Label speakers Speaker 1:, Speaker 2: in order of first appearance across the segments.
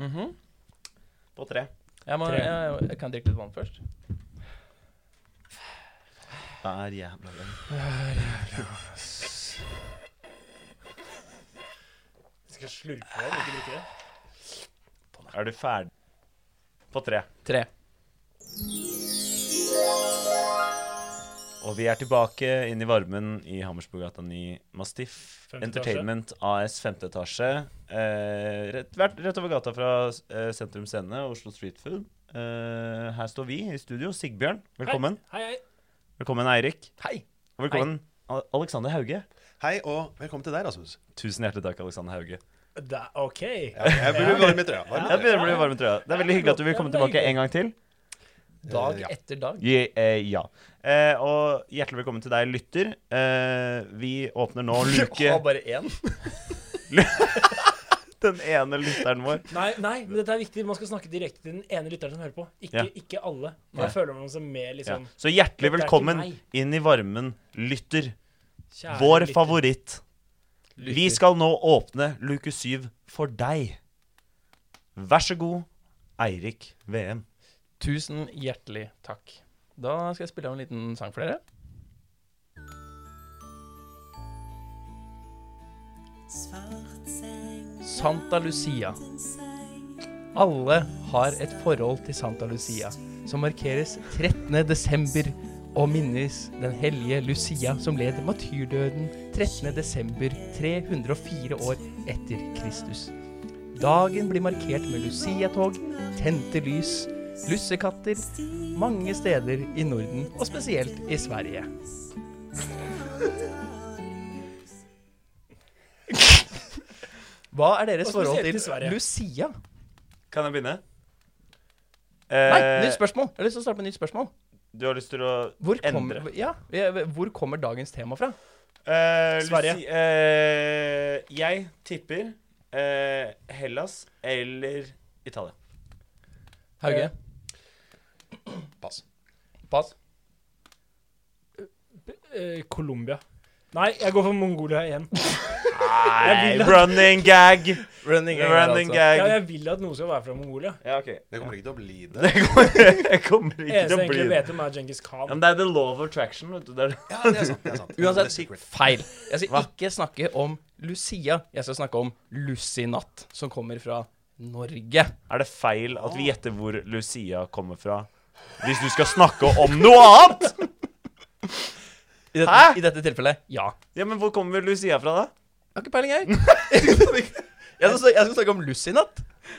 Speaker 1: Mhm.
Speaker 2: på tre.
Speaker 1: jeg, må,
Speaker 3: Tre.
Speaker 1: jeg, jeg kan drikke litt vann først.
Speaker 2: Hver jævla gang.
Speaker 3: Jeg skal slurpe av den, ikke drikke det.
Speaker 2: Er du ferdig? På tre.
Speaker 1: Tre.
Speaker 2: Og vi er tilbake inn i varmen i Hammersborggata 9 Mastiff
Speaker 3: Femte
Speaker 2: Entertainment AS, femte etasje. Eh, rett, vært rett over gata fra eh, Sentrum Scene og Oslo Street Food. Eh, her står vi i studio. Sigbjørn, velkommen.
Speaker 3: Hei, hei.
Speaker 2: Velkommen Eirik.
Speaker 1: Hei!
Speaker 2: Og velkommen Al- Alexander Hauge.
Speaker 4: Hei, og velkommen til deg, Rasmus.
Speaker 2: Tusen hjertelig takk, Alexander Hauge.
Speaker 3: hei. Da, OK.
Speaker 4: Ja, jeg burde varme trøya.
Speaker 2: Jeg
Speaker 4: Varme trøya.
Speaker 2: begynner å bli varm i trøya. Det er veldig hyggelig at du vil komme
Speaker 1: Ja, det er
Speaker 2: tilbake en gang til.
Speaker 1: Dag
Speaker 4: Eh, ja.
Speaker 1: etter dag.
Speaker 2: Je, eh, ja. Eh, og hjertelig velkommen til deg, lytter. Eh, vi åpner nå luke
Speaker 1: Og bare én.
Speaker 2: Den ene lytteren vår.
Speaker 3: Nei, nei, men dette er viktig. Man skal snakke direkte til den ene lytteren som hører på.
Speaker 2: Ja.
Speaker 3: Ikke, ikke alle.
Speaker 2: Nei.
Speaker 3: Jeg føler meg som mer
Speaker 2: Ja.
Speaker 3: liksom
Speaker 2: Så hjertelig
Speaker 3: Dette er ikke
Speaker 2: velkommen
Speaker 3: meg.
Speaker 2: inn i varmen, lytter.
Speaker 3: kjære
Speaker 2: Vår
Speaker 3: lytter.
Speaker 2: favoritt. Vi skal nå åpne luke syv for deg. Vær så god, Eirik VM.
Speaker 1: Tusen hjertelig takk. Da skal jeg spille av en liten sang for dere. Santa Lucia. Alle har et forhold til Santa Lucia, som markeres 13. desember og minnes den hellige Lucia som led martyrdøden 13. desember 304 år etter Kristus. Dagen blir markert med Lucia-tog, tente lys, lussekatter mange steder i Norden, og spesielt i Sverige. Hva er deres
Speaker 3: Og spesielt
Speaker 1: forhold
Speaker 3: i Sverige.
Speaker 1: til Lucia?
Speaker 2: Kan jeg begynne?
Speaker 1: Nei,
Speaker 2: Eh,
Speaker 1: nytt spørsmål. Jeg har lyst til å starte med et nytt spørsmål.
Speaker 2: du har lyst til å
Speaker 1: Hvor
Speaker 2: endre?
Speaker 1: kommer, ja, eh, hvor kommer dagens tema fra?
Speaker 2: Eh,
Speaker 3: Sverige.
Speaker 2: Lucy, eh, jeg tipper eh, Hellas eller Italia.
Speaker 1: Hauge?
Speaker 4: Pass.
Speaker 1: Pass.
Speaker 3: Eh, Colombia. Nei, jeg går for Mongolia igjen.
Speaker 2: Nei,
Speaker 3: vil at- altså.
Speaker 2: running gag!
Speaker 1: Running
Speaker 2: Eh,
Speaker 1: altså.
Speaker 2: Running
Speaker 3: Ja,
Speaker 2: gag.
Speaker 3: jeg vil at noe skal være fra Mongolia.
Speaker 2: Ja, ok.
Speaker 4: Det kommer ikke til å bli det.
Speaker 2: Det kommer, jeg kommer ikke
Speaker 3: Eneste
Speaker 2: til å
Speaker 3: jeg
Speaker 2: bli
Speaker 3: egentlig
Speaker 2: det.
Speaker 3: vet om, er Genghis
Speaker 2: Ja,
Speaker 3: Khan.
Speaker 2: men det er the law of attraction. vet du. Det er det.
Speaker 4: Ja, det er sant. det er sant. Det er
Speaker 1: Uansett,
Speaker 4: secret.
Speaker 1: feil. Jeg skal ikke snakke om Lucia. Jeg skal snakke om Lussinatt, som kommer fra Norge.
Speaker 2: Er det feil at vi gjetter hvor Lucia kommer fra? Hvis du skal snakke om noe annet?!
Speaker 1: I dette,
Speaker 2: Hæ?
Speaker 1: I dette tilfellet, ja.
Speaker 2: Ja, men hvor kommer Lucia fra, da?
Speaker 1: Jeg har ikke peiling, jeg. jeg, skal, snak- jeg skal snakke om Lussinatt.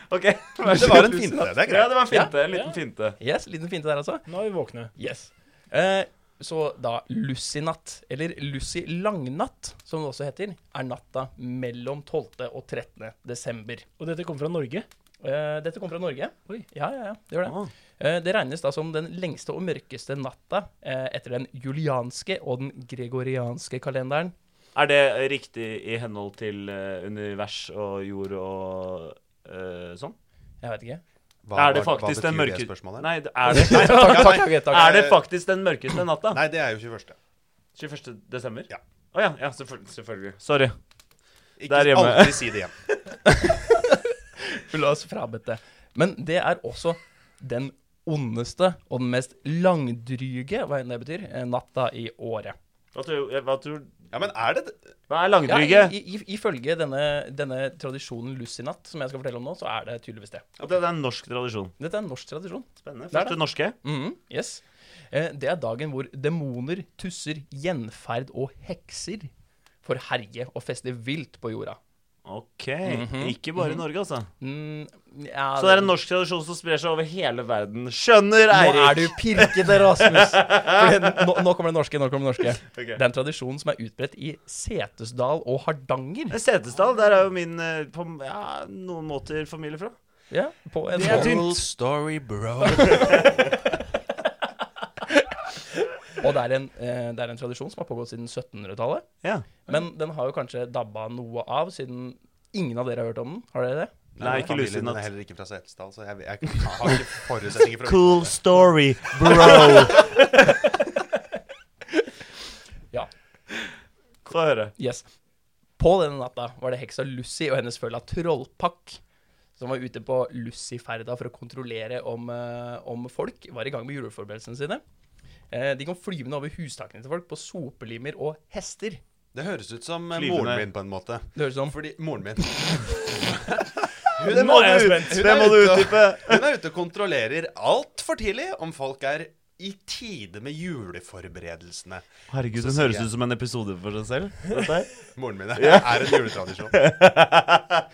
Speaker 2: OK. vær så
Speaker 4: Det var en
Speaker 2: god.
Speaker 4: finte. Det er
Speaker 2: Ja,
Speaker 4: greit.
Speaker 2: det var en finte. En
Speaker 3: Ja.
Speaker 2: liten finte.
Speaker 1: Yes, liten finte der, altså.
Speaker 3: Nå er vi våkne.
Speaker 1: Yes. Eh, så da Lussinatt, eller Lussi Langnatt, som det også heter, er natta mellom 12. og 13. desember.
Speaker 3: Og dette kommer fra Norge.
Speaker 1: Eh, dette kommer fra Norge.
Speaker 3: Oi.
Speaker 1: Ja, ja, ja, det gjør det.
Speaker 2: Ah.
Speaker 1: Eh, det regnes da som den lengste og mørkeste natta eh, etter den julianske og den gregorianske kalenderen.
Speaker 2: Er det riktig i henhold til eh, univers og jord og eh, sånn?
Speaker 1: Jeg vet ikke.
Speaker 4: Hva-
Speaker 2: er det
Speaker 4: hva- hva
Speaker 2: faktisk den
Speaker 4: betyr
Speaker 2: mørke...
Speaker 4: spørsmålet?
Speaker 2: Nei, det- er det,
Speaker 1: Takk, takk, takk, takk.
Speaker 2: er det faktisk den mørkeste natta?
Speaker 4: Nei, det er jo 21.
Speaker 2: 21. desember?
Speaker 4: Ja.
Speaker 2: Å ja, ja selvføl selvfølgelig. Sorry.
Speaker 4: Ikke
Speaker 2: Der hjemme.
Speaker 4: aldri si det igjen.
Speaker 1: La oss frabedt det. Men det er også den ondeste og den mest langdryge, hva enn det betyr, eh, natta i året.
Speaker 2: Hva tror, hva tror
Speaker 4: Ja, men er det det?
Speaker 2: Hva er
Speaker 1: Ja,
Speaker 2: langdryge?
Speaker 1: i, i, Ifølge denne, denne tradisjonen Lussinatt, som jeg skal fortelle om nå, så er det tydeligvis det.
Speaker 2: Ja, det er en norsk tradisjon.
Speaker 1: Dette er en norsk tradisjon.
Speaker 2: Spennende.
Speaker 1: Det er
Speaker 2: Første norske.
Speaker 1: Mhm, yes. Eh, Det er dagen hvor demoner, tusser, gjenferd og hekser får herje og feste vilt på jorda.
Speaker 2: OK. Ikke bare i Norge, altså.
Speaker 1: Mm, Mhm. ja,
Speaker 2: Så det er en norsk tradisjon som sprer seg over hele verden. Skjønner,
Speaker 1: Nå
Speaker 2: Eirik!
Speaker 1: er du pirkete, Rasmus! Fordi nå, nå kommer det norske. nå kommer Det norske.
Speaker 2: Ok.
Speaker 1: Det er en tradisjon som er utbredt i Setesdal og Hardanger.
Speaker 2: Setesdal, der er jo min eh, på ja, noen måter familie fra.
Speaker 1: Ja, på en
Speaker 2: Eh, Det er tynt.
Speaker 4: Full story, bro.
Speaker 1: Og det er, en, eh, det er en tradisjon som har pågått siden 1700-tallet.
Speaker 2: Ja.
Speaker 1: Men den har jo kanskje dabba noe av, siden ingen av dere har hørt om den. Har dere det?
Speaker 2: Nei, ikke
Speaker 4: Familien min
Speaker 2: Lucy-natt.
Speaker 4: er heller ikke fra Setesdal, så jeg, jeg, har ikke forutsetninger for å
Speaker 2: Cool story, bro.
Speaker 1: Ja.
Speaker 2: Få høre.
Speaker 1: Yes. På denne natta var det heksa Lucy og hennes følge av Trollpakk som var ute på Luciferda for å kontrollere om, eh, om folk var i gang med juleforberedelsene sine. Eh, de kom flyvende over hustakene til folk på sopelimer og hester.
Speaker 4: Det høres ut som eh,
Speaker 2: Flyvende.
Speaker 4: moren min på en måte.
Speaker 1: Det høres ut som
Speaker 4: Fordi moren min
Speaker 2: Hun
Speaker 3: Nå er jeg spent.
Speaker 4: Hun
Speaker 2: Det
Speaker 4: er
Speaker 2: må du
Speaker 4: ute og-
Speaker 2: utdype.
Speaker 4: Hun er ute og kontrollerer altfor tidlig om folk er i tide med juleforberedelsene.
Speaker 2: Herregud,
Speaker 4: Så
Speaker 2: den
Speaker 4: sier
Speaker 2: høres
Speaker 4: jeg-
Speaker 2: ut som en episode for seg selv. Dette her.
Speaker 4: Moren min er, er en juletradisjon.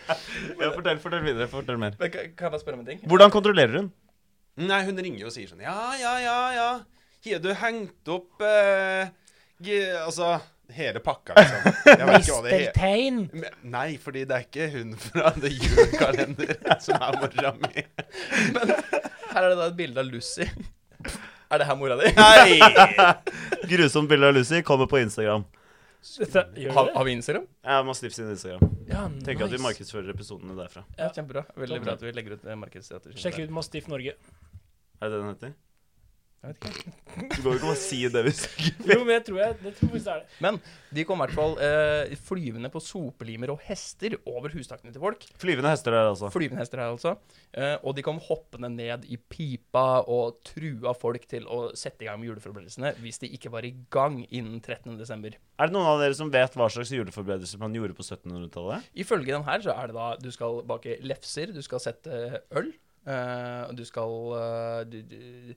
Speaker 2: Ja, fortell, fortell videre. Fortell mer.
Speaker 1: Men kan- Kan jeg bare spørre om en ting?
Speaker 2: Hvordan kontrollerer hun?
Speaker 4: Nei, hun ringer jo og sier sånn Ja, ja, ja, ja. Har du hengt opp eh, g- Altså hele pakka, liksom. Jeg vet ikke hva det he-
Speaker 3: Tegn.
Speaker 4: Men- Nei, fordi det er ikke hun fra The Julekalender som er mora mi.
Speaker 1: Her er det da et bilde av Lucy. Er det her mora di?
Speaker 4: Nei!
Speaker 2: Grusomt bilde av Lucy kommer på Instagram.
Speaker 3: Dette, gjør
Speaker 1: Har,
Speaker 3: du det?
Speaker 1: har vi Instagram?
Speaker 2: Jeg må sniffe sin Instagram.
Speaker 3: Ja,
Speaker 2: Tenker at vi
Speaker 3: nice.
Speaker 2: markedsfører episodene derfra.
Speaker 3: Ja.
Speaker 1: Kjempebra. Veldig bra at vi legger ut eh, markedsstrategien.
Speaker 3: Sjekk
Speaker 1: der.
Speaker 3: ut Mastiff Norge.
Speaker 2: Er det det den heter?
Speaker 1: Jeg vet ikke.
Speaker 2: Du går jo ikke å si det hvis ikke
Speaker 3: Jo, men jeg tror jeg Det tror jeg faktisk er det.
Speaker 1: Men de kom i hvert fall eh, flyvende på sopelimer og hester over hustakene til folk.
Speaker 2: Flyvende hester der, altså.
Speaker 1: Flyvende hester her, altså. Eh, og de kom hoppende ned i pipa og trua folk til å sette i gang med juleforberedelsene hvis de ikke var i gang innen 13.12.
Speaker 2: Er det noen av dere som vet hva slags juleforberedelser man gjorde på 1700-tallet?
Speaker 1: Ifølge den her så er det da du skal bake lefser, du skal sette øl, eh, og du skal eh, du, du,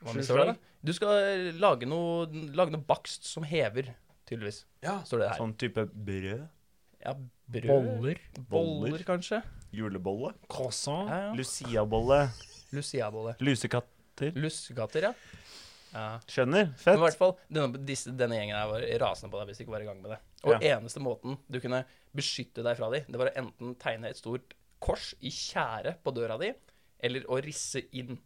Speaker 1: hva med
Speaker 3: Sju
Speaker 1: står det
Speaker 3: slag?
Speaker 1: da? Du skal lage noe, lage noe bakst som hever, tydeligvis.
Speaker 4: Ja,
Speaker 1: Står det her.
Speaker 2: Sånn type brød?
Speaker 1: Ja, brød.
Speaker 3: Boller.
Speaker 1: Boller,
Speaker 2: Boller.
Speaker 1: kanskje.
Speaker 2: Julebolle?
Speaker 3: Croissant.
Speaker 1: Ja, ja.
Speaker 2: Luciabolle?
Speaker 1: Luciabolle.
Speaker 2: Lusekatter?
Speaker 1: Lussekatter, ja. ja.
Speaker 2: Skjønner?
Speaker 1: Men i
Speaker 2: Fett?
Speaker 1: hvert fall, denne, disse, denne gjengen her var rasende på deg hvis du ikke var i gang med det. Og eneste måten du kunne beskytte deg fra dem, det var å enten tegne et stort kors i tjære på døra di, eller å risse inn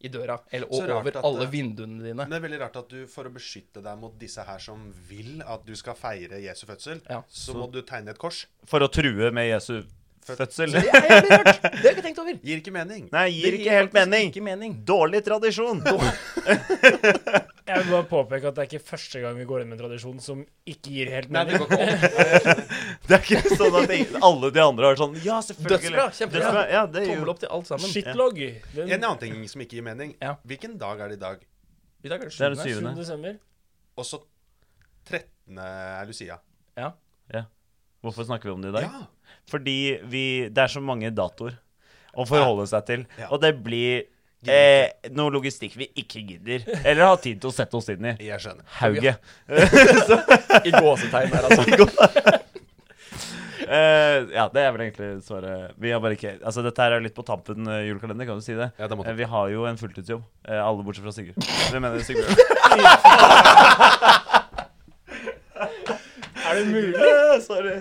Speaker 1: i døra, eller
Speaker 4: Så
Speaker 1: og
Speaker 4: rart
Speaker 1: over
Speaker 4: at
Speaker 1: alle
Speaker 4: det-
Speaker 1: vinduene dine.
Speaker 4: Men det er veldig rart at du, for å beskytte deg mot disse her som vil at du skal feire Jesu fødsel,
Speaker 1: Ja.
Speaker 4: så må du tegne et kors.
Speaker 2: For å true med Jesu fødsel?
Speaker 1: Det er jævlig rart! Det har jeg ikke tenkt over.
Speaker 4: Gir ikke mening.
Speaker 2: Nei,
Speaker 1: Det
Speaker 2: gir ikke helt
Speaker 1: faktisk
Speaker 2: mening.
Speaker 1: Ikke mening.
Speaker 2: Dårlig tradisjon.
Speaker 3: Jeg vil bare påpeke at det er ikke første gang vi går inn med en tradisjon som ikke gir helt
Speaker 4: Nei, det
Speaker 3: mening.
Speaker 4: går ikke opp.
Speaker 2: Det er ikke sånn at ingen- alle de andre har sånn Ja, selvfølgelig.
Speaker 1: Dødsbra, kjempebra.
Speaker 2: Ja, det er
Speaker 1: Tommel
Speaker 2: jo
Speaker 1: opp til alt sammen.
Speaker 3: Shitlog.
Speaker 4: En
Speaker 3: Den
Speaker 4: annen ting som ikke gir mening.
Speaker 1: Ja.
Speaker 4: Hvilken dag er det i dag?
Speaker 1: I dag er det
Speaker 2: Det er den
Speaker 1: sjuende.
Speaker 3: 7.
Speaker 2: syvende.
Speaker 3: desember.
Speaker 4: Og så 13. er Lucia.
Speaker 1: Ja.
Speaker 2: Hvorfor snakker vi om det i dag?
Speaker 4: Ja.
Speaker 2: Fordi vi Det er så mange datoer å forholde seg til.
Speaker 4: Ja.
Speaker 2: Og det blir
Speaker 4: Gidder
Speaker 2: eh, noe logistikk vi ikke gidder. Eller har tid til å sette oss inn i.
Speaker 4: Jeg skjønner.
Speaker 2: Hauge.
Speaker 1: I gåsetegn her, altså.
Speaker 2: Eh, ja, det er vel egentlig svaret. Vi har bare ikke Altså, dette her er jo litt på tampen eh, julekalender, kan du si det?
Speaker 4: Ja, det måtte-
Speaker 2: Eh, vi har jo en fulltidsjobb, eh, alle bortsett fra Sigurd. Hvem mener Sigurd?
Speaker 3: Er det mulig?
Speaker 2: Eh, Sorry.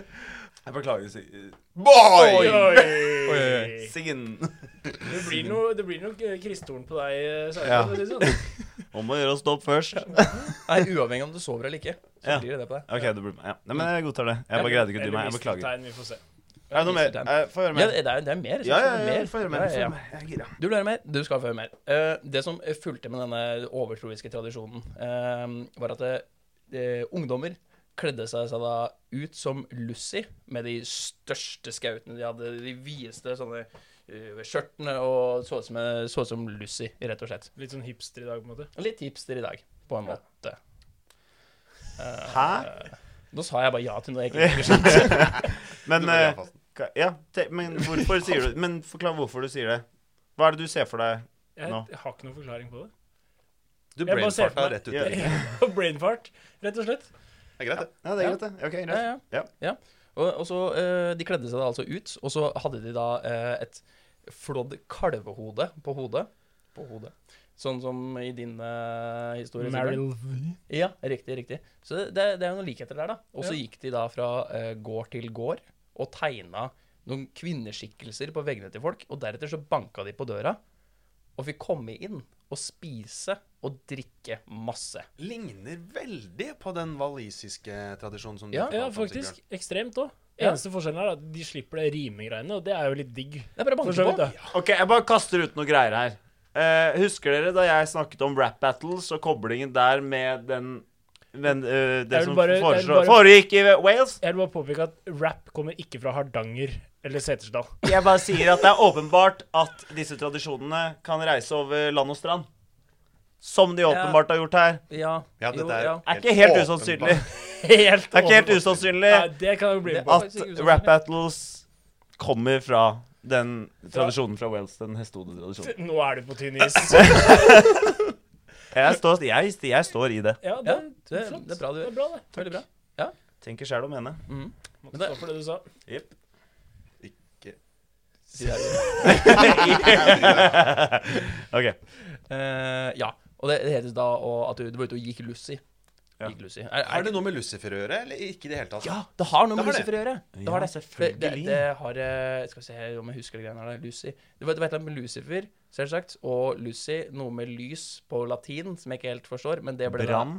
Speaker 2: Jeg beklager, eh, Sigurd.
Speaker 4: Boy!
Speaker 3: Oi, oi,
Speaker 1: oi.
Speaker 2: Siggen.
Speaker 3: Det blir noe, det blir nok eh, kristtorn på deg eh,
Speaker 4: Ja.
Speaker 3: senere. for å si det sånn.
Speaker 2: Om å gjøre å stoppe først.
Speaker 1: Nei, uavhengig om du sover eller ikke, så
Speaker 2: Ja.
Speaker 1: blir det det på deg.
Speaker 2: Ok, det blir, ja. Nei, men jeg godtar det. Jeg bare greide ikke å dy
Speaker 3: Eller
Speaker 2: meg. Jeg beklager.
Speaker 3: misteltein, vi får se.
Speaker 2: Er det noe mer? Eh, Få høre
Speaker 1: Ja,
Speaker 2: mer.
Speaker 1: det er, det er mer.
Speaker 2: Ja, ja,
Speaker 1: det er
Speaker 2: ja.
Speaker 1: mer.
Speaker 2: Få høre mer.
Speaker 1: Ja, ja,
Speaker 2: få høre
Speaker 1: ja.
Speaker 2: mer. Jeg er gira.
Speaker 1: Du vil høre mer, du skal få høre mer. Eh, det som fulgte med denne overtroiske tradisjonen, eh, var at eh, ungdommer kledde seg, seg da ut som Lucy med de største skautene. De hadde de videste sånne eh, skjørtene og så ut som, eh, så ut som Lucy, rett og slett.
Speaker 3: Litt sånn hipster i dag, på en måte.
Speaker 1: Litt hipster i dag, på en måte. Eh,
Speaker 2: Hæ?
Speaker 1: Nå sa jeg bare ja til noe jeg ikke
Speaker 4: Du
Speaker 2: Men,
Speaker 4: må gjøre
Speaker 2: eh,
Speaker 4: fasten.
Speaker 2: ka- ja, te- men hvorfor sier du Men forklar hvorfor du sier det. Hva er det du ser for deg?
Speaker 3: Jeg
Speaker 2: Nå.
Speaker 3: har ikke noen forklaring på det.
Speaker 4: Du
Speaker 3: jeg bare ser for
Speaker 4: brainfarta
Speaker 3: meg-
Speaker 4: rett ut. i
Speaker 2: Ja.
Speaker 4: det.
Speaker 3: Brainfart, rett og slett.
Speaker 4: Det er greit, det.
Speaker 2: Ja, det er greit, det. Ok, greit.
Speaker 1: Ja, ja. ja. Og, og så, eh, De kledde seg da altså ut, og så hadde de da eh, et flådd kalvehode på hodet. På hodet. Sånn som i din eh, historie. Sigbjørn. Ja, riktig, riktig. Så det, det er jo noen likheter der, da. Og så
Speaker 3: Ja.
Speaker 1: gikk de da fra eh, gård til gård og tegna noen kvinneskikkelser på veggene til folk, og deretter så banka de på døra og fikk komme inn og spise og drikke masse.
Speaker 4: Ligner veldig på den walisiske tradisjonen som du
Speaker 1: Ja,
Speaker 4: fortalte
Speaker 3: Ja,
Speaker 4: om,
Speaker 3: faktisk.
Speaker 4: Sigbjørn.
Speaker 3: Ekstremt òg.
Speaker 1: Ja.
Speaker 3: Eneste forskjellen er at de slipper det rimegreiene, og det er jo litt digg.
Speaker 1: Det er bare å
Speaker 3: For
Speaker 1: banke
Speaker 3: så vidt,
Speaker 1: på.
Speaker 3: da.
Speaker 2: Ok, jeg bare kaster ut noen greier her. Eh, husker dere da jeg snakket om rap battles og koblingen der med den men, eh,
Speaker 3: er
Speaker 2: det
Speaker 3: vel
Speaker 2: som
Speaker 3: bare- det er
Speaker 2: foreslår,
Speaker 3: bare-
Speaker 2: foregikk i Wales?
Speaker 3: Jeg vil bare påpeke at rap kommer ikke fra Hardanger Eller Setersdal.
Speaker 2: Jeg bare sier at det er åpenbart at disse tradisjonene kan reise over land og strand. Som de åpenbart har gjort her.
Speaker 1: Ja.
Speaker 4: Ja, dette er
Speaker 1: ja.
Speaker 2: Er ikke helt
Speaker 4: åpenbart.
Speaker 2: usannsynlig.
Speaker 3: Helt
Speaker 2: Det er ikke helt altså-
Speaker 3: åpenbart.
Speaker 2: usannsynlig
Speaker 3: Nei, det kan jo bli
Speaker 1: Det-
Speaker 3: på.
Speaker 1: Ah,
Speaker 2: at rap battles kommer fra den tradisjonen fra Wales, den hestehode-tradisjonen.
Speaker 3: Nå er du på tynn is.
Speaker 2: Jeg, står- jeg, jeg står i det.
Speaker 3: Ja, det,
Speaker 1: Ja,
Speaker 3: er
Speaker 1: det- det er
Speaker 3: flott.
Speaker 1: bra du
Speaker 3: Det
Speaker 1: gjør.
Speaker 3: er bra, det.
Speaker 1: Veldig bra. Mm.
Speaker 2: Tenker sjæl om henne.
Speaker 3: Må stå for det du sa.
Speaker 2: Yep. OK.
Speaker 1: Eh, ja. Og det, det heter da og at du, du var ute og gikk luss i.
Speaker 2: Ja.
Speaker 1: Gikk luss i. Er,
Speaker 4: Er
Speaker 1: er
Speaker 4: det noe med Lucifer å gjøre, eller ikke i det hele tatt?
Speaker 1: Ja, det har noe med
Speaker 4: Det har
Speaker 1: Lucifer å gjøre. Det
Speaker 2: Ja,
Speaker 1: har det. Det,
Speaker 2: selvfølgelig.
Speaker 1: det, det har eh, Skal vi se om jeg husker det greiene her. Lucy. Det var, det var et eller annet med Lucifer, selvsagt, og Lucy, noe med lys på latin, som jeg ikke helt forstår, men det ble da-
Speaker 2: Brann.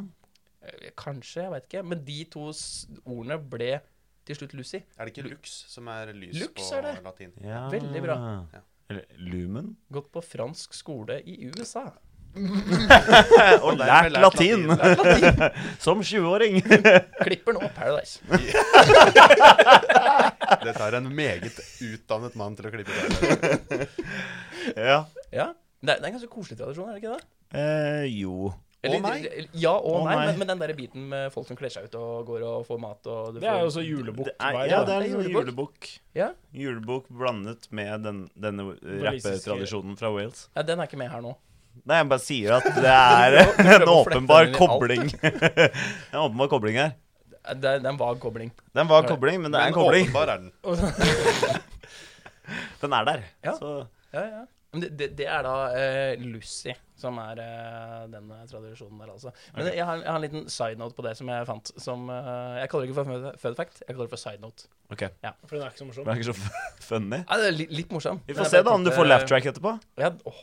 Speaker 1: Eh, Kanskje, jeg veit ikke. Men de to s- ordene ble til slutt Lucy.
Speaker 4: Er det ikke lux som er lys
Speaker 1: Lux
Speaker 4: på
Speaker 1: er det.
Speaker 4: latin?
Speaker 2: Ja.
Speaker 1: Veldig bra.
Speaker 4: Ja.
Speaker 2: Eller Lumen.
Speaker 1: Gått på fransk skole i USA.
Speaker 2: Og
Speaker 4: derfor
Speaker 2: lært
Speaker 4: lært
Speaker 2: latin!
Speaker 4: latin.
Speaker 2: Som 20-åring.
Speaker 1: Klipper nå Paradise.
Speaker 4: Dette er en meget utdannet mann til å klippe det.
Speaker 2: Ja.
Speaker 1: Ja. Det er, det er en ganske koselig tradisjon, er det ikke det?
Speaker 2: Eh, jo.
Speaker 1: Eller-
Speaker 4: Å, nei.
Speaker 1: eller- Ja og
Speaker 2: Å,
Speaker 1: nei,
Speaker 2: nei.
Speaker 1: Men, men den der biten med folk som kler seg ut og går og får mat og du
Speaker 3: Det er
Speaker 1: får-
Speaker 3: jo så julebukk
Speaker 2: Det er, ja,
Speaker 3: hver dag.
Speaker 2: det er
Speaker 1: Det er
Speaker 2: liksom
Speaker 1: julebukk.
Speaker 2: julebukk.
Speaker 1: Ja.
Speaker 2: Julebukk blandet med den, denne eh,
Speaker 3: Walisiske-
Speaker 2: rappetradisjonen fra Wales.
Speaker 1: ja, Den er ikke med her nå.
Speaker 2: Nei, jeg bare sier at det er
Speaker 1: prøver
Speaker 2: en
Speaker 1: å flette
Speaker 2: åpenbar
Speaker 1: den inn i alt.
Speaker 2: kobling. Det er en åpenbar kobling her.
Speaker 1: Det er, det er en vag kobling.
Speaker 2: Den var
Speaker 1: Ja.
Speaker 2: kobling, men det er
Speaker 4: Men
Speaker 2: en kobling.
Speaker 4: åpenbar er den.
Speaker 3: Og-
Speaker 2: Den er der.
Speaker 1: Ja.
Speaker 2: Så
Speaker 1: Ja, ja. Men det, det, det er da eh, Lucy som er eh, den tradisjonen der, altså. Men jeg, har, jeg har en liten sidenote på det som jeg fant. Som, eh, jeg kaller det ikke for fun fact, jeg kaller det for sidenote.
Speaker 2: OK. Det
Speaker 3: For den er ikke så morsom.
Speaker 2: er ikke så f- funny.
Speaker 1: Ja, det er litt, litt morsom.
Speaker 2: Vi
Speaker 1: Men
Speaker 2: får
Speaker 1: jeg
Speaker 2: se
Speaker 1: bare
Speaker 2: da om du
Speaker 1: tenkte-
Speaker 2: får laugh track etterpå.
Speaker 1: Ja, åh,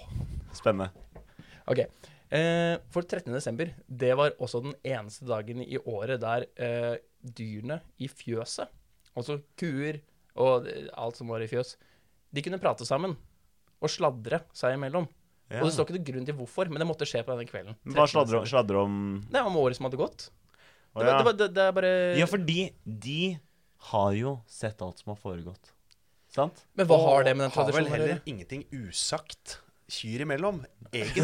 Speaker 2: Spennende.
Speaker 1: ok. Eh, for 13. desember, det var også den eneste dagen i året der eh, dyrene i fjøset, altså kuer og alt som var i fjøs, de kunne prate sammen og sladre seg imellom.
Speaker 2: Ja.
Speaker 1: Og det står ikke noe grunn til hvorfor, men det måtte skje på denne kvelden.
Speaker 2: Men Hva
Speaker 1: 13.
Speaker 2: sladrer om? Sladrer om
Speaker 1: Det var med året som hadde gått.
Speaker 2: Å,
Speaker 1: Det, var,
Speaker 2: ja.
Speaker 1: det, var, det, det er bare
Speaker 2: ja, fordi de har jo sett alt som har foregått. Sant?
Speaker 1: Men hva har det med den
Speaker 4: Har vel
Speaker 1: tradisjonen å
Speaker 4: heller
Speaker 1: gjøre?
Speaker 4: ingenting usagt kyr imellom, egentlig.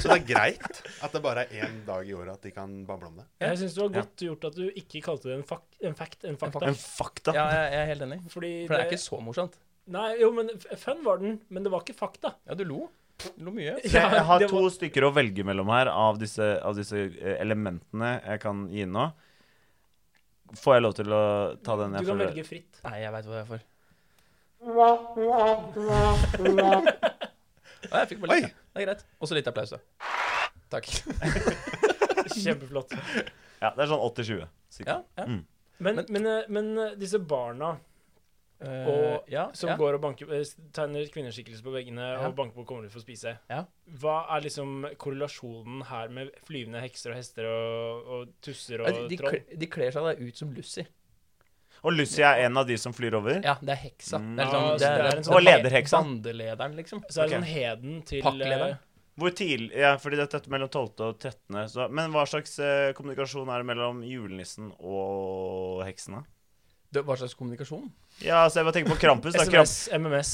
Speaker 4: Så det er greit at det bare er én dag i året at de kan bable om det.
Speaker 3: Jeg syns det var godt gjort at du ikke kalte det en, fak en fact, en fakta.
Speaker 2: En fakta.
Speaker 1: Ja, jeg, jeg er helt enig.
Speaker 3: Fordi
Speaker 1: For det er ikke så morsomt.
Speaker 3: Nei, jo, men f- fun var den, men det var ikke fakta.
Speaker 1: Ja, du lo. Du lo mye.
Speaker 2: Så jeg har
Speaker 3: det
Speaker 2: to
Speaker 3: var-
Speaker 2: stykker å velge mellom her av disse, av disse eh, elementene jeg kan gi nå. Får jeg lov til å ta den
Speaker 3: Du
Speaker 2: jeg
Speaker 3: kan
Speaker 2: føler
Speaker 3: velge fritt.
Speaker 1: Nei, jeg veit hva jeg er for. Å, jeg fikk bare litt. ja. Det er greit. Og så litt applaus, da. Takk.
Speaker 3: Kjempeflott.
Speaker 2: Ja, Det er sånn 80-20.
Speaker 1: Ja,
Speaker 2: sikkert.
Speaker 1: ja.
Speaker 2: Mm.
Speaker 3: Men, men, eh, men eh, disse barna
Speaker 1: Eh,
Speaker 3: Og
Speaker 1: ja,
Speaker 3: som
Speaker 1: ja.
Speaker 3: går og banker, eh, tegner kvinneskikkelse på veggene
Speaker 1: Ja.
Speaker 3: og banker på kommer ut for å spise,
Speaker 1: Ja.
Speaker 3: hva er liksom korrelasjonen her med flyvende hekser og hester og, og tusser og
Speaker 1: Ja, de,
Speaker 3: troll?
Speaker 1: kl- de kler seg da ut som Lucy.
Speaker 2: Og Lucy er en av de som flyr over.
Speaker 1: Ja, det er heksa.
Speaker 4: Mm.
Speaker 1: Det er liksom,
Speaker 3: Ja, så
Speaker 1: det er,
Speaker 3: det er en sånn-
Speaker 2: Og lederheksa.
Speaker 1: Bandelederen, liksom.
Speaker 3: Så er det
Speaker 2: Ok.
Speaker 3: sånn heden til
Speaker 1: Pakklederen.
Speaker 3: eh,
Speaker 2: Hvor tidlig, ja, fordi dette er mellom 12. og 13. Så, men hva slags eh, kommunikasjon er det mellom julenissen og heksene?
Speaker 1: Det, hva slags kommunikasjon?
Speaker 2: Ja, altså jeg bare tenker på Krampus. Da.
Speaker 3: SMS,
Speaker 2: Kramp,
Speaker 3: MMS.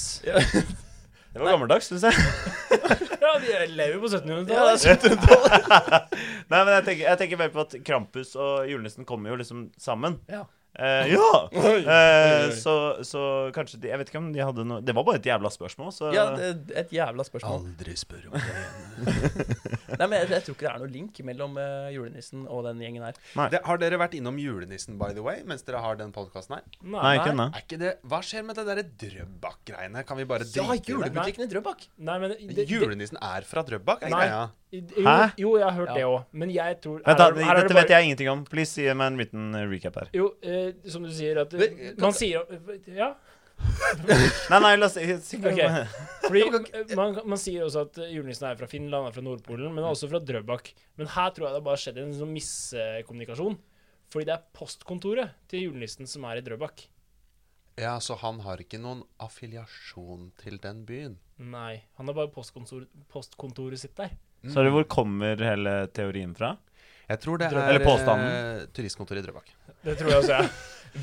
Speaker 2: det var gammeldags, syns jeg.
Speaker 3: Ja, vi lever jo på 1700-tallet.
Speaker 1: Ja, det er
Speaker 2: Nei, men jeg tenker, jeg tenker mer på at Krampus og julenissen kommer jo liksom sammen.
Speaker 1: Ja.
Speaker 2: Eh, ja! Eh,
Speaker 1: oi.
Speaker 2: så, så kanskje de Jeg vet ikke om de hadde noe Det var bare et jævla spørsmål, så
Speaker 1: ja, det er et jævla spørsmål.
Speaker 4: Aldri spør om det igjen.
Speaker 1: Nei, men jeg, jeg tror ikke det er noe link mellom eh, julenissen og den gjengen her.
Speaker 4: Det, har dere vært innom julenissen, by the way, mens dere har den podkasten her?
Speaker 2: Nei,
Speaker 3: Nei,
Speaker 2: ikke ennå.
Speaker 4: Er ikke det, hva skjer med det derre Drøbak-greiene? Kan vi bare
Speaker 1: Ja,
Speaker 4: drite i det?
Speaker 1: julebutikken i Drøbak!
Speaker 3: nei, men det, det,
Speaker 4: Julenissen er fra Drøbak, er
Speaker 3: Nei.
Speaker 4: greia?
Speaker 3: jo,
Speaker 2: Hæ?
Speaker 3: jo, jeg har hørt
Speaker 1: Ja.
Speaker 3: det òg, men jeg tror
Speaker 2: Vent, da.
Speaker 3: her er- her er det
Speaker 2: Dette
Speaker 3: bare-
Speaker 2: vet jeg ingenting om. Please gi meg en liten eh, recap her.
Speaker 3: Jo, eh, som du sier at
Speaker 1: Men, eh,
Speaker 3: Man
Speaker 1: kan-
Speaker 3: sier Ja.
Speaker 2: Nei, nei, la oss
Speaker 3: Ok.
Speaker 2: okay.
Speaker 3: Fordi eh, man, man sier også at eh, julenissen er fra Finland, er fra Nordpolen, men også fra Drøbak. Men her tror jeg det har bare skjedd en sånn miskommunikasjon. Fordi det er postkontoret til julenissen som er i Drøbak.
Speaker 4: Ja, så han har ikke noen affiliasjon til den byen.
Speaker 3: Nei, han har bare postkontor, postkontoret sitt der.
Speaker 2: Så er det hvor kommer hele teorien fra?
Speaker 4: Jeg tror det
Speaker 2: Drøbak.
Speaker 4: er
Speaker 2: Eller påstanden.
Speaker 4: eh, turistkontoret i Drøbak.
Speaker 3: Det tror jeg også jeg.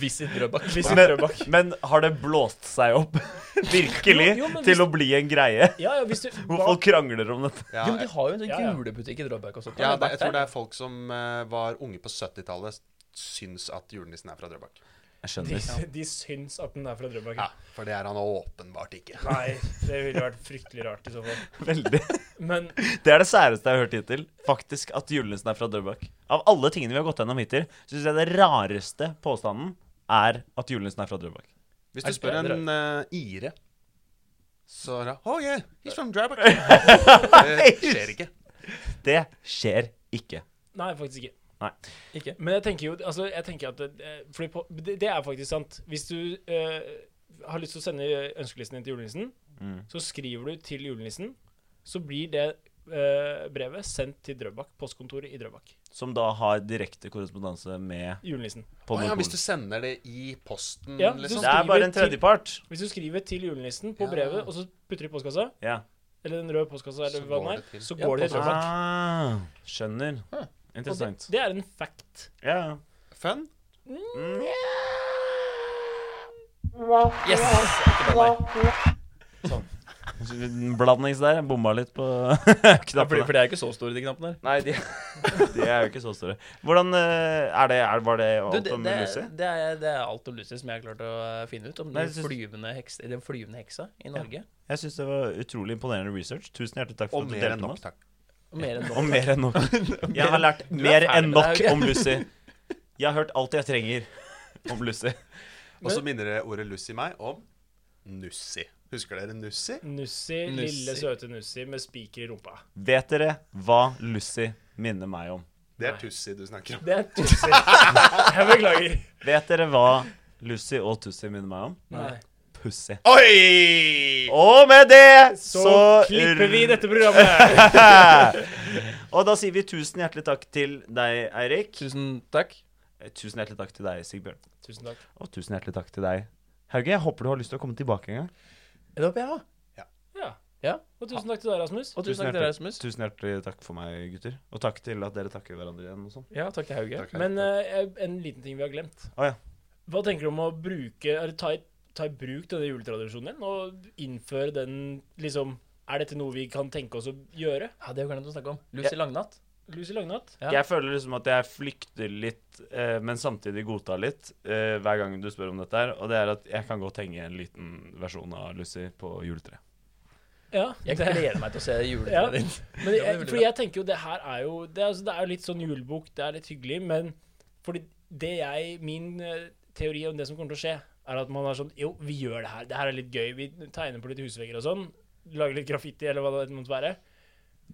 Speaker 5: Visit Drøbak.
Speaker 3: Visit
Speaker 2: Men,
Speaker 3: Drøbak.
Speaker 2: men har det blåst seg opp virkelig
Speaker 3: Jo, jo, men
Speaker 2: til
Speaker 3: hvis-
Speaker 2: å bli en greie?
Speaker 3: Ja, ja, hvis du
Speaker 2: Hvor
Speaker 3: hva-
Speaker 2: folk krangler om dette?
Speaker 4: Ja,
Speaker 5: Jo, men de har jo en sånn
Speaker 3: Ja, ja.
Speaker 5: julebutikk i Drøbak også.
Speaker 4: ja det, jeg tror det er folk som eh, var unge på 70-tallet, syns at julenissen er fra Drøbak.
Speaker 2: Jeg
Speaker 3: de,
Speaker 2: skjønner.
Speaker 3: de syns at den er fra Drøbak.
Speaker 4: Ja, For det er han åpenbart ikke.
Speaker 3: Nei, det ville vært fryktelig rart i så fall.
Speaker 2: Veldig.
Speaker 3: Men
Speaker 2: Det er det særeste jeg har hørt hittil. Faktisk at julenissen er fra Drøbak. Av alle tingene vi har gått gjennom hittil, syns jeg det rareste påstanden er at julenissen er fra Drøbak.
Speaker 4: Hvis
Speaker 1: Er
Speaker 4: du
Speaker 1: det
Speaker 4: spør
Speaker 1: det
Speaker 4: en eh, ire, så er det Oh yeah, he's from Drøbak.
Speaker 2: Nei.
Speaker 4: det skjer ikke.
Speaker 2: Det skjer ikke.
Speaker 3: Nei, faktisk ikke.
Speaker 2: Nei.
Speaker 5: Ikke?
Speaker 3: Men jeg tenker jo altså, jeg tenker at det, eh, fordi på, det, det er faktisk sant. Hvis du eh, har lyst til å sende ønskelisten din til julenissen,
Speaker 2: Mm.
Speaker 3: så skriver du til julenissen, så blir det eh, brevet sendt til Drøbak, postkontoret i Drøbak.
Speaker 2: Som da har direkte korrespondanse med
Speaker 3: Julenissen.
Speaker 2: på
Speaker 4: Å ja, hvis du
Speaker 2: Nordpolen.
Speaker 4: sender det i posten,
Speaker 3: Ja,
Speaker 4: liksom.
Speaker 2: Det er bare en tredjepart.
Speaker 3: Hvis du skriver til julenissen på
Speaker 4: Ja.
Speaker 3: brevet, og så putter du i postkassa,
Speaker 2: Ja.
Speaker 3: eller den røde postkassa, eller
Speaker 4: Så
Speaker 3: hva
Speaker 4: går
Speaker 3: den
Speaker 4: det
Speaker 3: er,
Speaker 4: til-
Speaker 3: så
Speaker 5: Ja,
Speaker 3: går det til Drøbak.
Speaker 2: Ah, skjønner.
Speaker 4: Huh.
Speaker 3: Hm. Og det,
Speaker 2: Interessant.
Speaker 3: det er en fact.
Speaker 2: Ja.
Speaker 4: Fun?
Speaker 5: Yes! Ikke bare meg.
Speaker 2: En Blandings der. Bomma litt på
Speaker 5: Ja, fordi,
Speaker 2: knappene.
Speaker 5: for de er ikke så store, de knappene der.
Speaker 2: Nei, de, de er jo ikke så store. Hvordan eh, er det, er, Var det
Speaker 5: Du,
Speaker 2: alt
Speaker 5: det,
Speaker 2: om
Speaker 5: det,
Speaker 2: Lucy?
Speaker 5: er- det, er, det er alt om Lucy som jeg har klart å eh, finne ut. Om
Speaker 2: Nei,
Speaker 5: den
Speaker 2: jeg synes-
Speaker 5: flyvende, heks, den flyvende heksa i Norge.
Speaker 2: Jeg syns det var utrolig imponerende research. Tusen hjertelig takk for
Speaker 4: Og
Speaker 2: at du
Speaker 4: mer
Speaker 2: delte med
Speaker 4: enn nok,
Speaker 2: oss.
Speaker 4: takk.
Speaker 5: Og mer enn
Speaker 2: Og
Speaker 5: nok.
Speaker 2: mer enn nok. Jeg har lært
Speaker 5: er
Speaker 2: mer
Speaker 5: ferdig
Speaker 2: enn
Speaker 5: med
Speaker 2: nok
Speaker 5: det, ok?
Speaker 2: om Lucy. Jeg har hørt alt jeg trenger om Lucy.
Speaker 4: Og så minner det ordet Lucy meg om Nussi. Husker dere Nussi?
Speaker 3: Nussi, lille
Speaker 5: Nussi.
Speaker 3: søte Nussi med spiker i rumpa.
Speaker 2: Vet dere hva Lucy minner meg om?
Speaker 4: Det er Tussi du snakker om.
Speaker 3: Det er Tussi. Jeg beklager.
Speaker 2: Vet dere hva Lucy og Tussi minner meg om?
Speaker 3: Nei.
Speaker 2: Pussy.
Speaker 4: Oi!
Speaker 2: Og med det
Speaker 3: Så, klipper vi dette programmet.
Speaker 2: Og da sier vi tusen hjertelig takk til deg, Eirik.
Speaker 5: Tusen takk.
Speaker 2: Eh, Tusen hjertelig takk til deg, Sigbjørn.
Speaker 3: Tusen takk.
Speaker 2: Og tusen hjertelig takk til deg, Hauge. Jeg håper du har lyst til å komme tilbake en gang.
Speaker 5: Det håper jeg òg.
Speaker 3: Ja.
Speaker 5: Ja.
Speaker 3: Og tusen takk til deg, Rasmus.
Speaker 5: Og tusen takk til deg, Rasmus.
Speaker 2: Tusen hjertelig takk for meg, gutter. Og takk til at dere takker hverandre igjen og sånn.
Speaker 5: Ja, takk til Hauge.
Speaker 4: Takk, hei.
Speaker 3: Men eh, en liten ting vi har glemt.
Speaker 2: Å, ja.
Speaker 3: Hva tenker du om å bruke eller ta i, ta i bruk denne juletradisjonen din? Og innføre den liksom Er dette noe vi kan tenke oss å gjøre?
Speaker 5: Ja, det er jo glemt å snakke om. Lucy Langnatt.
Speaker 3: Lucy Langnatt?
Speaker 5: Ja.
Speaker 2: Jeg føler liksom at jeg flykter litt, eh, men samtidig godtar litt eh, hver gang du spør om dette her. Og det er at jeg kan godt henge en liten versjon av Lucy på juletreet.
Speaker 3: Ja.
Speaker 5: Jeg
Speaker 3: det-
Speaker 5: gleder meg til å se
Speaker 3: Ja.
Speaker 5: juletreet ditt.
Speaker 3: Men
Speaker 5: Det blir
Speaker 3: jeg,
Speaker 5: veldig
Speaker 3: fordi jeg tenker jo det her er jo det er, altså, det er jo litt sånn julebok, det er litt hyggelig, men fordi det jeg Min eh, teori om det som kommer til å skje, er at man er sånn Jo, vi gjør det her. Det her er litt gøy. Vi tegner på litt husvegger og sånn. Lager litt graffiti, eller hva det måtte være.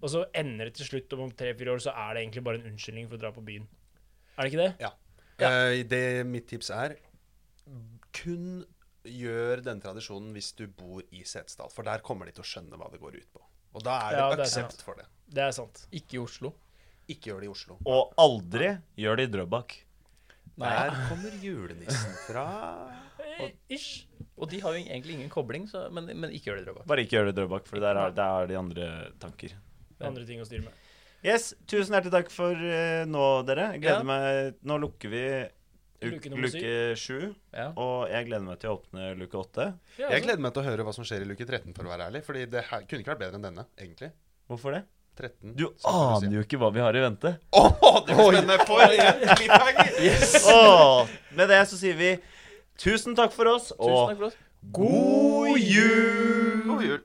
Speaker 3: Og så ender det til slutt, om tre-fire år, så er det egentlig bare en unnskyldning for å dra på byen. Er det ikke det?
Speaker 4: Ja. Eh, det mitt tips er kun gjør denne tradisjonen hvis du bor i Setesdal, for der kommer de til å skjønne hva det går ut på. Og da er det
Speaker 3: Ja, det er sant.
Speaker 4: aksept for det.
Speaker 3: Det er sant.
Speaker 5: Ikke i Oslo.
Speaker 4: Ikke gjør det i Oslo.
Speaker 2: Og aldri gjør det i Drøbak.
Speaker 4: Der kommer julenissen fra
Speaker 3: Eh, Ish.
Speaker 5: Og de har jo egentlig ingen kobling, så, men, men ikke gjør det, Drøbak.
Speaker 2: Bare ikke gjør det i Drøbak, for der er, der er de andre tanker.
Speaker 3: Andre ting å styre med.
Speaker 2: Yes, tusen hjertelig takk for eh, nå, dere. Jeg Gleder
Speaker 5: Ja.
Speaker 2: meg Nå lukker vi uk-
Speaker 3: Luke nummer
Speaker 2: luke sju,
Speaker 5: Ja.
Speaker 2: og jeg gleder meg til å åpne luke åtte.
Speaker 3: Ja,
Speaker 4: Jeg
Speaker 3: altså.
Speaker 4: gleder meg til å høre hva som skjer i luke 13, for å være ærlig. Fordi det her kunne ikke vært bedre enn denne, egentlig.
Speaker 2: Hvorfor det?
Speaker 4: 13.
Speaker 2: Du aner jo ikke hva vi har i vente.
Speaker 4: Å, det blir spennende! For en cliffhanger!
Speaker 2: Åh, med det så sier vi tusen takk for oss,
Speaker 5: Tusen
Speaker 2: og
Speaker 5: takk for oss.
Speaker 2: god jul!
Speaker 4: God jul.